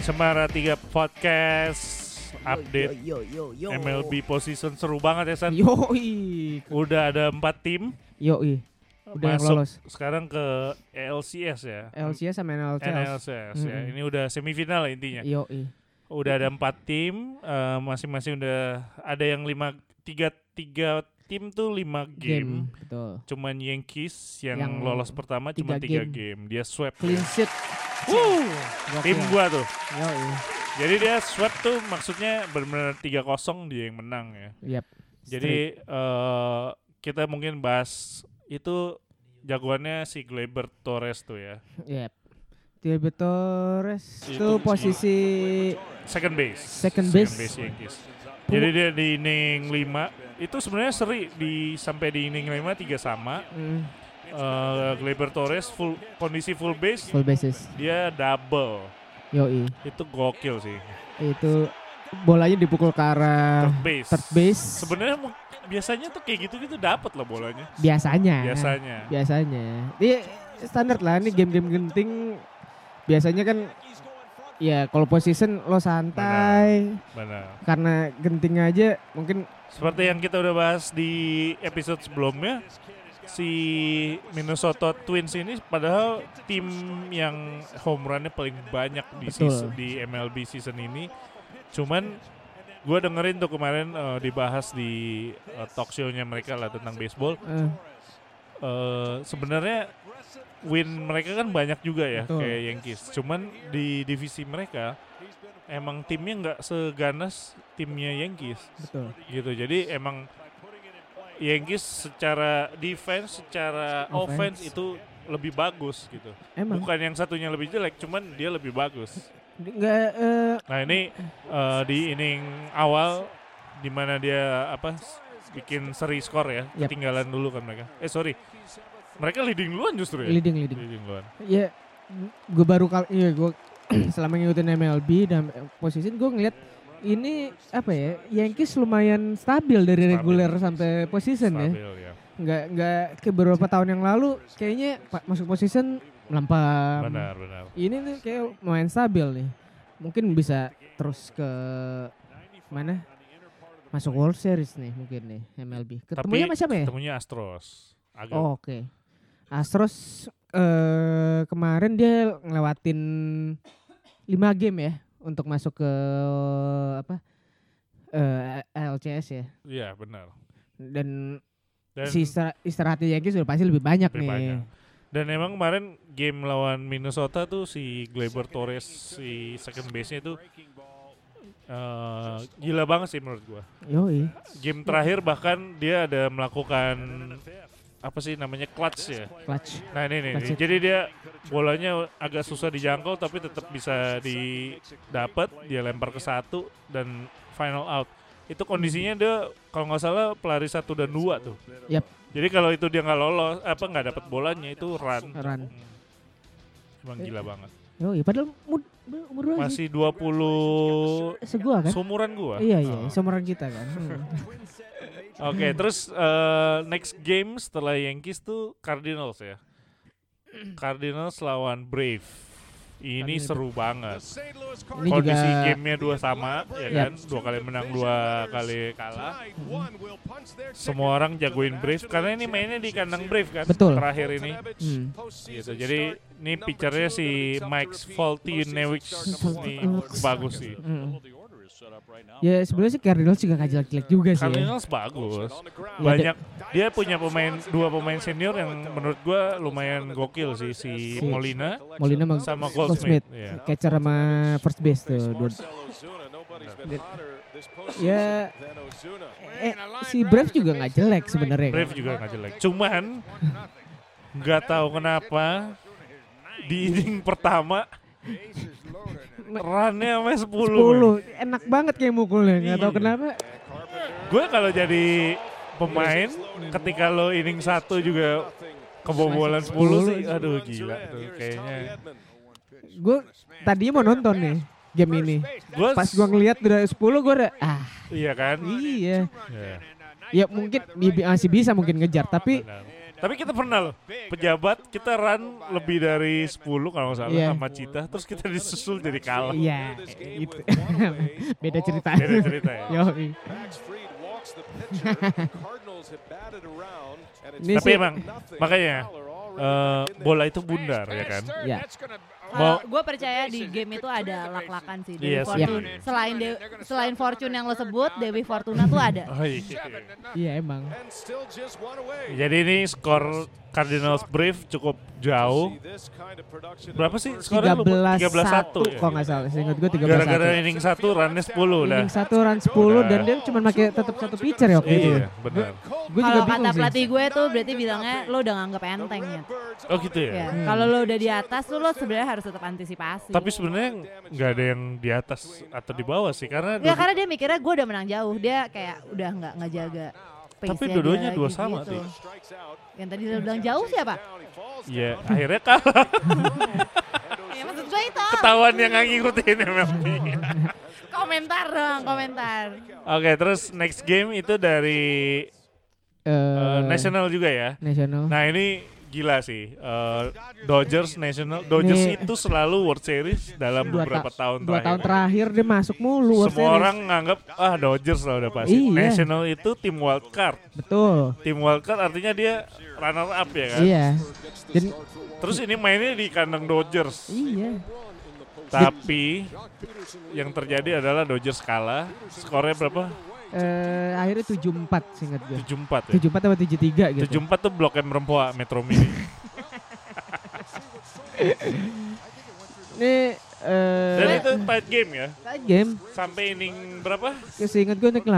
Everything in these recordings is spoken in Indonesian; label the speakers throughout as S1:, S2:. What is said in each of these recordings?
S1: Cemara 3 Podcast update
S2: yo, yo, yo, yo.
S1: MLB position seru banget ya San.
S2: Yoi.
S1: Udah ada 4 tim
S2: Yoi. Udah yang
S1: masuk
S2: lolos.
S1: sekarang ke LCS ya.
S2: LCS sama NLCS.
S1: NLCS ya.
S2: Mm-mm. Iya.
S1: Ini udah semifinal lah intinya.
S2: Yoi.
S1: Udah ada 4 tim eh, masing-masing udah ada yang 5 3 3 tim tuh 5 game.
S2: Game. Betul.
S1: Cuman Yankees yang,
S2: Yang
S1: lolos pertama cuma
S2: tiga
S1: 3 game. Dia sweep.
S2: Clean sheet.
S1: Wuh,
S2: Gokil.
S1: tim gua tuh.
S2: Yoi.
S1: Jadi dia sweep tuh maksudnya benar-benar 3-0 dia yang menang ya.
S2: Yep.
S1: Jadi eh kita mungkin bahas itu jagoannya si Gleyber Torres tuh ya.
S2: Straight. Yep. Tiago Torres
S1: Itu
S2: itu posisi
S1: Second base.
S2: Second base.
S1: Yankees. Jadi dia di inning 5 itu sebenarnya seri di sampai di inning 5 tiga sama.
S2: mm,
S1: Eh Gleyber Torres full kondisi full base
S2: full bases.
S1: dia double.
S2: Yoi.
S1: Itu gokil sih.
S2: Itu bolanya dipukul ke arah
S1: Third base.
S2: Nah, third base.
S1: Sebenarnya mu- biasanya tuh kayak gitu-gitu dapat lah bolanya.
S2: biasanya. Ya.
S1: Biasanya.
S2: biasanya ini standar lah ini game-game genting biasanya kan ya kalau position lo santai
S1: Benar.
S2: karena genting aja mungkin
S1: Seperti yang kita udah bahas di episode sebelumnya, si Minnesota Twins ini padahal tim yang home run-nya paling banyak di
S2: Betul.
S1: season- di MLB season ini. Cuman gue dengerin tuh kemarin eh, dibahas di eh, talk show-nya mereka lah tentang baseball.
S2: eh,
S1: Eh, Sebenarnya win mereka kan banyak juga ya
S2: Betul.
S1: kayak Yankees. Cuman di divisi mereka emang timnya nggak seganas timnya Yankees
S2: betul
S1: gitu jadi emang Yankees secara defense secara offense,
S2: Offense.
S1: itu lebih bagus gitu
S2: emang
S1: bukan yang satunya lebih jelek cuman dia lebih bagus
S2: nggak eh,
S1: nah ini eh, di inning awal di mana dia apa s- bikin seri skor ya
S2: Yap.
S1: ketinggalan dulu kan mereka eh sorry mereka leading duluan justru ya
S2: leading leading
S1: leading duluan
S2: ya gue baru kali ya gue selama ngikutin MLB dan position gue ngeliat ini apa ya Yankees lumayan stabil dari
S1: Stabil.
S2: reguler sampai position ya
S1: stabil ya
S2: nggak nggak kayak beberapa tahun yang lalu kayaknya pa- masuk position melampau
S1: benar benar
S2: ini nih kayak main stabil nih. Mungkin bisa terus ke mana? Masuk World Series nih mungkin nih MLB. Ketemunya
S1: Tapi
S2: sama siapa ya?
S1: ketemunya Astros agak
S2: Oh, oke. Astros eh kemarin dia ngelewatin 5 game ya untuk masuk ke apa? eh LCS ya.
S1: iya benar
S2: Dan,
S1: dan
S2: si istira- istirahatnya Yankees sudah pasti lebih banyak
S1: Lebih
S2: nih.
S1: banyak. Dan emang kemarin game lawan Minnesota tuh si Gleyber Torres si second base-nya itu eh, gila banget sih menurut gua.
S2: Yoi.
S1: Game terakhir bahkan dia ada melakukan apa sih namanya clutch ya.
S2: Clutch.
S1: Nah ini nih,
S2: Clutch.
S1: jadi dia bolanya agak susah dijangkau tapi tetap bisa didapat. Dia lempar ke satu dan final out. Itu kondisinya dia kalau nggak salah pelari satu dan dua tuh.
S2: Yap.
S1: Jadi kalau itu dia nggak lolos, apa nggak dapat bolanya itu run.
S2: Run.
S1: Hmm. Emang gila banget.
S2: Yoi, padahal umur, umur lu aja
S1: Masih 20
S2: segua kan?
S1: seumuran gua.
S2: Iya iya,
S1: Oh.
S2: seumuran kita kan. Hmm.
S1: Oke, terus eh, next game setelah Yankees tuh Cardinals ya. Cardinals lawan Brave. Ini
S2: Cardinals.
S1: seru banget.
S2: Ini
S1: Kondisi
S2: juga
S1: gamenya dua sama, ya
S2: Yap.
S1: kan? Dua kali menang, dua kali kalah. Semua orang jagoin Brave karena ini mainnya di kandang Brave kan.
S2: Betul.
S1: Terakhir ini.
S2: hmm.
S1: Gitu. Jadi ini pitchernya si Mike Voltinewicz ini bagus sih.
S2: hmm. Ya sebenarnya sih Cardinals juga nggak jelek-jelek juga sih. Ya.
S1: Cardinals bagus.
S2: Ya,
S1: Banyak dia punya pemain dua pemain senior yang menurut gua lumayan gokil sih si
S2: Si-
S1: Molina
S2: Molina mang-
S1: sama
S2: Goldsmith, eh,
S1: Goldsmith. Iya.
S2: catcher sama first base tuh. Dua. Ya eh, si Braves juga nggak jelek sebenarnya.
S1: Brave
S2: kan.
S1: juga nggak jelek. Cuman nggak tahu kenapa di inning pertama runnya sama 10.
S2: 10 enak banget kayak mukulnya nggak tahu
S1: Iya.
S2: kenapa
S1: Gue kalau jadi pemain ketika lo inning satu juga kebobolan 10 sih aduh gila tuh kayaknya
S2: gue tadinya mau nonton nih game ini
S1: Gua-
S2: pas gue ngelihat udah 10 gue udah ah
S1: iya kan
S2: iya
S1: Iya.
S2: ya mungkin bi- bi- masih bisa mungkin ngejar tapi
S1: Benar. Tapi kita pernah loh pejabat kita run lebih dari 10 kalau nggak salah
S2: Iya.
S1: sama Cita terus kita disusul jadi kalah.
S2: Iya, itu. Beda
S1: Oh,
S2: cerita.
S1: Beda cerita ya.
S2: Yo, Ini
S1: Tapi emang makanya eh, bola itu bundar ya kan.
S2: Ya.
S1: Mau-
S3: gue percaya di game itu ada lak-lakan sih Dewi
S1: Iya sih.
S3: Fortune. Selain Dewi- selain Fortune yang lo sebut, Dewi Fortuna tuh ada.
S1: Oh, iya.
S2: Iya emang.
S1: Jadi ini skor Cardinals Brief cukup jauh. Berapa sih skornya?
S2: 13
S1: lu? 13-1.
S2: satu
S1: ya?
S2: kalau nggak salah. Seingat gue 13
S1: Gara-gara
S2: satu.
S1: inning 1 runnya 10 udah.
S2: Inning satu run 10 dan
S1: Udah.
S2: dia cuma pakai tetap satu pitcher ya waktu itu.
S1: Iya, benar.
S2: Gue juga
S3: Kalau
S2: bingung
S3: kata
S2: sih.
S3: pelatih gue tuh berarti bilangnya lo udah nganggap enteng ya.
S1: Oh gitu ya.
S3: Ya, Kalau lo udah di atas tuh lo sebenarnya harus tetap antisipasi.
S1: Tapi sebenarnya nggak ada yang di atas atau di bawah sih karena
S3: ya
S1: dua-
S3: karena dia mikirnya gue udah menang jauh, dia kayak udah nggak ngejaga pace-nya
S1: Tapi dua-duanya
S3: dia
S1: dua
S3: gitu.
S1: sama, Ti.
S3: Yang tadi lo bilang jauh siapa?
S1: ya akhirnya kalah
S3: Ya maksud gue itu.
S1: ketahuan yang nggak ngikutin ya, MLB.
S3: Komentar dong, komentar.
S1: Oke, terus next game itu dari
S2: Eh,
S1: eh, National juga ya.
S2: National.
S1: Nah, ini gila sih. Eh, Dodgers National Dodgers
S2: Ini-
S1: itu selalu World Series dalam
S2: Iya. dua
S1: beberapa
S2: ta-
S1: tahun
S2: dua tahun
S1: terakhir.
S2: terakhir dia masuk mulu World
S1: Semua
S2: Series.
S1: orang nganggap ah Dodgers lah udah pasti.
S2: Iya.
S1: National itu tim wild card.
S2: betul
S1: Tim wild card artinya dia runner up ya kan.
S2: iya dan
S1: Terus ini mainnya di kandang Dodgers.
S2: iya
S1: Tapi yang terjadi adalah Dodgers kalah. Skornya berapa?
S2: Eh, akhirnya 74 seingat gue
S1: 74 ya.
S2: 74 atau 73 gitu
S1: 74 tuh Blok M Rempoa Metro Mini.
S2: ini eh,
S1: Dan itu tight game ya.
S2: tight game
S1: Sampai inning berapa?
S2: ya seingat gue naik 8 gue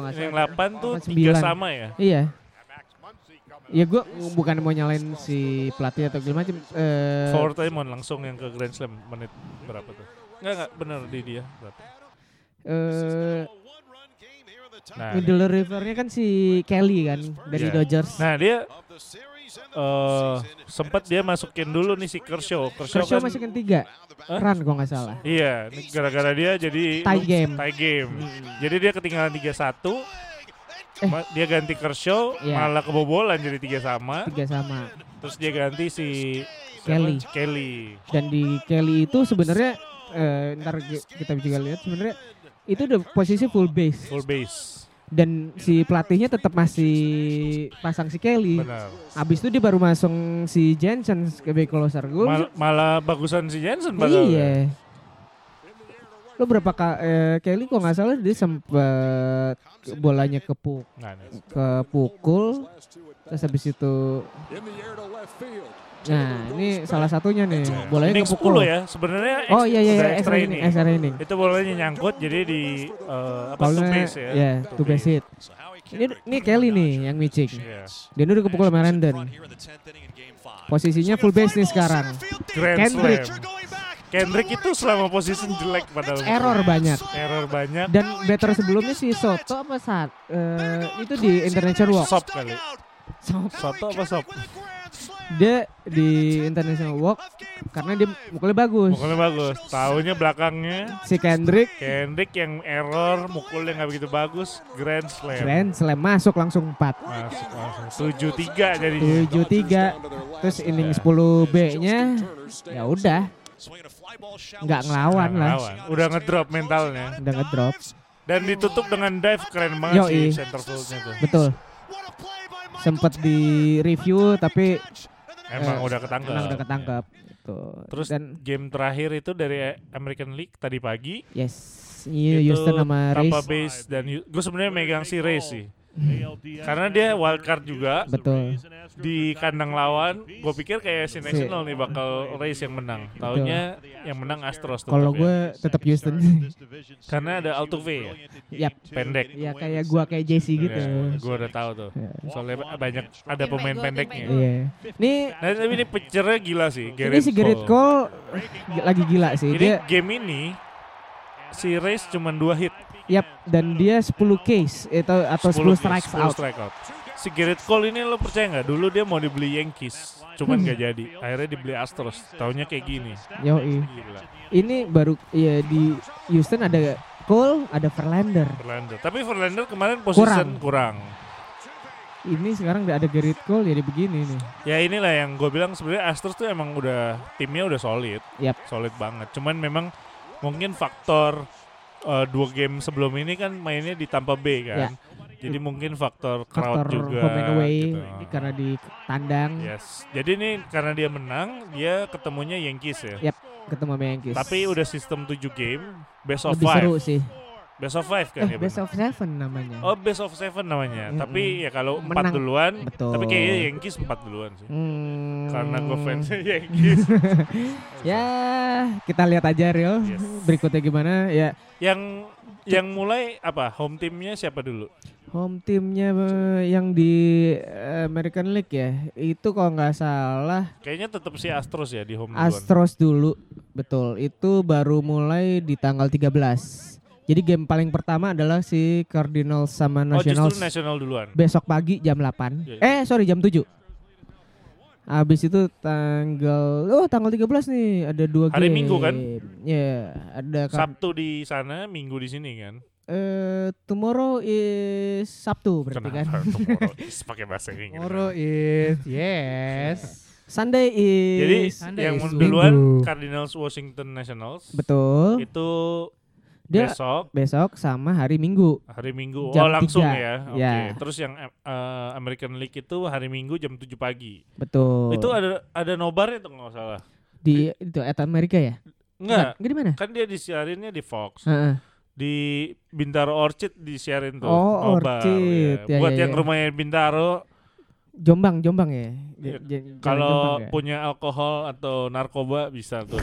S2: nggak
S1: Inning
S2: salah
S1: 8 tuh
S2: Sama
S1: 3
S2: sembilan.
S1: sama ya.
S2: iya ya gue bukan mau nyalain si pelatih atau gimana macam eh,
S1: Forward aja mohon langsung yang ke Grand Slam menit berapa tuh? Enggak enggak benar di dia. Berapa?
S2: eh,
S1: Nah,
S2: middle rivernya kan si Kelly kan
S1: Iya.
S2: dari Dodgers
S1: nah dia eh sempat dia masukin dulu nih si Kershaw. Kershaw,
S2: Kershaw
S1: kan,
S2: masukin tiga
S1: Hah?
S2: run gue nggak salah
S1: Iya, ini gara-gara dia jadi
S2: Tie game.
S1: tie game. Jadi dia ketinggalan 3-1.
S2: Eh.
S1: Ma- Dia ganti Kershaw,
S2: Iya.
S1: malah kebobolan jadi tiga sama.
S2: tiga sama
S1: Terus dia ganti si
S2: Kelly.
S1: siapa? Kelly.
S2: dan di Kelly itu sebenarnya eh, ntar gi- kita juga lihat sebenarnya itu udah posisi full base
S1: Full base.
S2: dan si pelatihnya tetap masih pasang si Kelly.
S1: Benar.
S2: Abis itu dia baru masang si Jensen sebagai closer gue.
S1: Mal- malah bagusan si Jensen padahal. ya.
S2: iya. Lo berapa ka, eh, Kelly kok nggak salah dia sempet bolanya kepu-
S1: Nah, nih.
S2: kepukul terus habis itu nah ini salah satunya nih bolanya
S1: Inning
S2: kepukul
S1: 10 ya. Sebenarnya
S2: oh iya iya
S1: udah
S2: iya,
S1: extra
S2: extra
S1: ini.
S2: inning extra inning
S1: Itu bolanya nyangkut jadi di eh, apa
S2: Paulnya,
S1: two base ya.
S2: ya,
S1: Two
S2: two base hit. Ini, ini Kelly nih yang micing.
S1: Iya.
S2: Dia udah kepukul sama Rendon. Posisinya full base nih sekarang.
S1: Grand
S2: Kendrick.
S1: Slam. Kendrick itu selama position jelek padahal.
S2: Error banyak.
S1: Error banyak.
S2: Dan better sebelumnya si Soto apa saat eh, itu di International Walk.
S1: Sop kali.
S2: Sop.
S1: Soto apa sop?
S2: Dia di International Walk karena dia mukulnya bagus.
S1: Mukulnya bagus. Tahunya belakangnya
S2: Si Kendrick
S1: Kendrick yang error, mukulnya nggak begitu bagus, Grand Slam.
S2: Grand Slam masuk langsung 4.
S1: Masuk, masuk. 7-3 jadinya.
S2: 73 terus inning 10 B-nya ya udah nggak ngelawan
S1: Nggak
S2: lah
S1: ngelawan. Udah ngedrop mentalnya.
S2: udah ngedrop
S1: Dan ditutup dengan dive keren banget
S2: Yoi.
S1: sih center fieldnya tuh.
S2: betul sempet di review tapi
S1: Emang
S2: Eh,
S1: udah ketangkep.
S2: emang udah ketangkep gitu.
S1: Terus
S2: dan
S1: game terakhir itu dari American League tadi pagi.
S2: yes iya
S1: itu
S2: Houston sama
S1: Tampa Bay
S2: Rays
S1: dan gue sebenarnya megang si Rays sih. Mm. Karena dia wild card juga
S2: betul
S1: di kandang lawan. Gue pikir kayak si National nih bakal Rays yang menang. Taunya yang menang Astros. tetap
S2: kalau
S1: ya.
S2: gue tetap Eh, Houston
S1: Karena ada auto V ya?
S2: Yap.
S1: Pendek.
S2: ya kayak gua kayak JC gitu
S1: gue udah tahu tuh.
S2: Ya.
S1: Soalnya ba- banyak ada pemain pendeknya.
S2: iya ini
S1: Nah, tapi ini pitchernya gila sih.
S2: ini si Gerrit Cole lagi gila sih
S1: Ini
S2: dia
S1: game ini si Rays cuma dua hit.
S2: yap dan dia 10 case itu atau 10 strikes
S1: 10
S2: out
S1: strikeout. Si Gerrit Cole ini lo percaya nggak? Dulu dia mau dibeli Yankees, cuman nggak
S2: Hmm.
S1: jadi. Akhirnya dibeli Astros. Taunya kayak gini.
S2: Yoi.
S1: Gila.
S2: ini baru ya di Houston ada Cole ada Verlander
S1: Verlander. Tapi Verlander kemarin posisi
S2: Kurang.
S1: kurang.
S2: ini sekarang udah ada Gerrit Cole jadi begini nih.
S1: Ya inilah yang gue bilang sebenarnya Astros tuh emang udah timnya udah solid,
S2: Yap.
S1: solid banget. Cuman memang mungkin faktor eh, dua game sebelum ini kan mainnya di Tampa Bay kan,
S2: Ya.
S1: jadi mungkin faktor crowd
S2: Faktor
S1: juga.
S2: home and away
S1: gitu. Iya.
S2: karena di tandang
S1: Yes, jadi ini karena dia menang dia ketemunya Yankees ya.
S2: ketemu sama Yankees.
S1: Tapi udah sistem 7 game, best of
S2: lebih
S1: five,
S2: seru sih.
S1: best of five kan
S2: Eh,
S1: ya.
S2: best
S1: bener?
S2: of seven namanya.
S1: Oh best of seven namanya.
S2: Mm-mm.
S1: Tapi ya kalau empat
S2: Menang.
S1: duluan,
S2: Betul.
S1: tapi kayaknya Yankees empat duluan sih.
S2: Hmm.
S1: Karena gue fans Yankees.
S2: Ya, kita lihat aja Rio.
S1: Yes.
S2: Berikutnya gimana? Ya,
S1: Yang yang mulai apa? Home timnya siapa dulu?
S2: home timnya eh, yang di eh, American League ya. Itu kalau nggak salah
S1: Kayaknya tetap si Astros ya di home duluan.
S2: Astros dulu. Betul. Itu baru mulai di tanggal 13. Jadi game paling pertama adalah si Cardinals sama
S1: Oh
S2: Nationals.
S1: justru nasional duluan.
S2: besok pagi jam 8.
S1: Iya, iya.
S2: Eh, sorry jam 7. Habis itu tanggal oh tanggal 13 nih ada dua
S1: Hari
S2: game.
S1: Minggu kan?
S2: Ya, ada kan.
S1: Sabtu di sana, Minggu di sini kan.
S2: Eh, tomorrow is Sabtu berarti kan.
S1: Kenapa tomorrow? Is pakai bahasa Inggris.
S4: Tomorrow is yes.
S2: Sunday is
S1: Jadi
S4: Sunday
S1: yang
S4: is
S1: duluan
S2: Minggu.
S1: Cardinals Washington Nationals.
S2: betul.
S1: Itu
S2: Dia
S1: besok
S2: besok sama hari Minggu.
S1: hari Minggu. oh
S2: Jam
S1: langsung
S2: 3.
S1: ya. Oke.
S2: Ya.
S1: Terus yang eh, American League itu hari Minggu jam 7 pagi.
S2: Betul.
S1: Itu ada ada nobarnya tuh nggak salah.
S2: di itu at Amerika ya?
S1: Enggak.
S2: Enggak di mana?
S1: Kan dia disiarinnya di Fox.
S2: Heeh.
S1: Di Bintaro Orchid disiarin tuh.
S2: Oh,
S1: nobar,
S2: Orchid.
S1: ya.
S2: Ya,
S1: Buat
S2: ya,
S1: yang
S2: ya.
S1: rumahnya Bintaro
S2: Jombang, Jombang ya. J-
S1: Iya,
S2: j- jalan
S1: kalau
S2: Jombang ya?
S1: punya alkohol atau narkoba bisa tuh.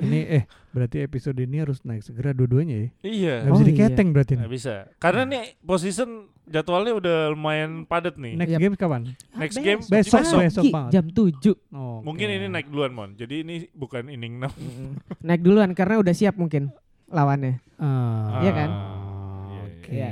S4: ini eh berarti episode ini harus naik segera dua-duanya ya. Gak
S1: iya.
S2: Oh,
S4: bisa
S2: iya.
S4: diketeng berarti ini.
S1: Nggak bisa. Karena nih position jadwalnya udah lumayan padat nih.
S4: Next
S2: Yap.
S4: game kapan?
S1: Next
S2: Besok
S1: game
S4: Besok,
S2: Ah, besok,
S4: besok
S2: Ki,
S4: banget.
S2: jam 7.
S4: Oh,
S1: Mungkin ini naik duluan Mon. Jadi ini bukan inning 6.
S2: Mm. Naik duluan karena udah siap mungkin lawannya.
S4: Ah.
S2: Iya kan?
S4: Oke.
S2: Iya.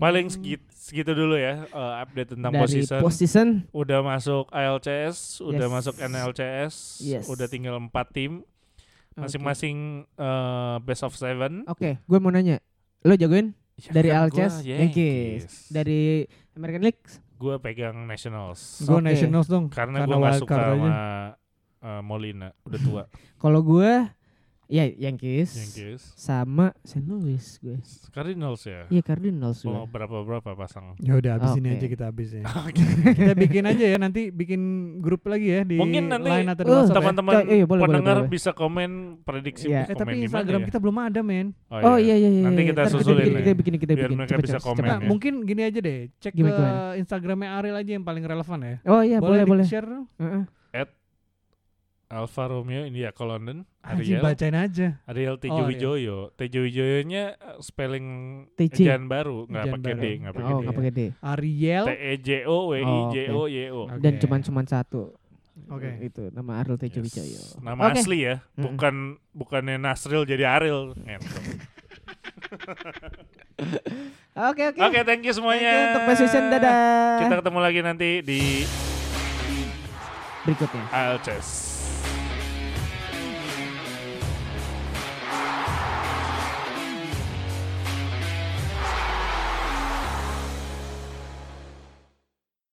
S1: Paling segit- segitu dulu ya eh, update tentang
S2: Dari
S1: position.
S2: position
S1: udah masuk ALCS, udah
S2: Yes.
S1: masuk NLCS,
S2: Yes.
S1: udah tinggal 4 tim masing-masing eh, best of seven.
S2: Oke, gue mau nanya. Lo jagoin
S1: Ya
S2: Oh, dari
S1: kan, gua
S2: Alces, Yankees. Dari American League
S1: gua pegang Nationals
S4: Gue
S2: Oke.
S4: Nationals dong.
S1: karena, gua nggak
S4: wild
S1: suka
S4: card
S1: sama
S4: aja.
S1: eh, Molina, udah tua
S2: Kalau gue ya Yankees.
S1: Yankees.
S2: Sama St. Louis gue.
S1: Cardinals ya.
S2: Iya Cardinals gue.
S1: Mau berapa berapa pasang?
S4: Ya udah abis
S2: Oke.
S4: ini aja kita abis ya. kita bikin aja ya nanti bikin grup lagi ya di
S1: Mungkin nanti
S4: line atau
S2: Eh,
S4: di WhatsApp. ya.
S1: Teman-teman
S2: Iya, iya, boleh, boleh,
S1: pendengar
S2: boleh.
S1: bisa komen prediksi
S2: Iya.
S4: Eh
S1: komen
S4: tapi
S1: di mana
S4: Instagram
S1: ya?
S4: kita belum ada men.
S2: Oh iya iya iya.
S1: Nanti
S2: iya.
S1: kita
S2: Ntar
S1: susulin
S2: bikin,
S1: ya.
S2: Kita bikin kita
S1: Biar
S2: bikin.
S1: mereka
S2: Cepet,
S1: bisa
S2: cepet,
S1: komen
S2: cepet.
S4: Nah,
S1: ya.
S4: mungkin gini aja deh, cek
S2: Gimana,
S4: ke
S2: gimana?
S4: Instagramnya Ariel aja yang paling relevan ya.
S2: Oh iya boleh boleh.
S4: Share
S2: Heeh.
S1: Alfa Romeo India London Ariel
S4: Aji bacain aja.
S1: Ariel Tejo
S2: iya.
S4: Oh, Ariel.
S1: Wijoyo Tejo Wijoyonya eh, spelling
S2: TJ.
S1: ejaan baru nggak
S4: Ejaan
S1: pakai D
S4: baru.
S1: nggak pakai
S2: Oh
S1: D
S2: nggak pakai D.
S1: T
S4: Ariel.
S1: E J O
S2: Oh.
S1: W I J O Y O
S4: Oke.
S2: Dan cuman cuman satu.
S4: Oke.
S2: Itu nama Arul Tejo
S1: Yes.
S2: Wijoyo.
S1: Nama
S2: Oke. Hmm.
S1: asli ya,
S2: Mm-mm.
S1: bukan bukannya Nasril jadi Ariel. Ngentot.
S2: Oke oke.
S1: Oke, thank you
S2: Thank you
S1: semuanya.
S2: Untuk position dadah.
S1: Kita ketemu lagi nanti di
S2: berikutnya.
S1: ALCS.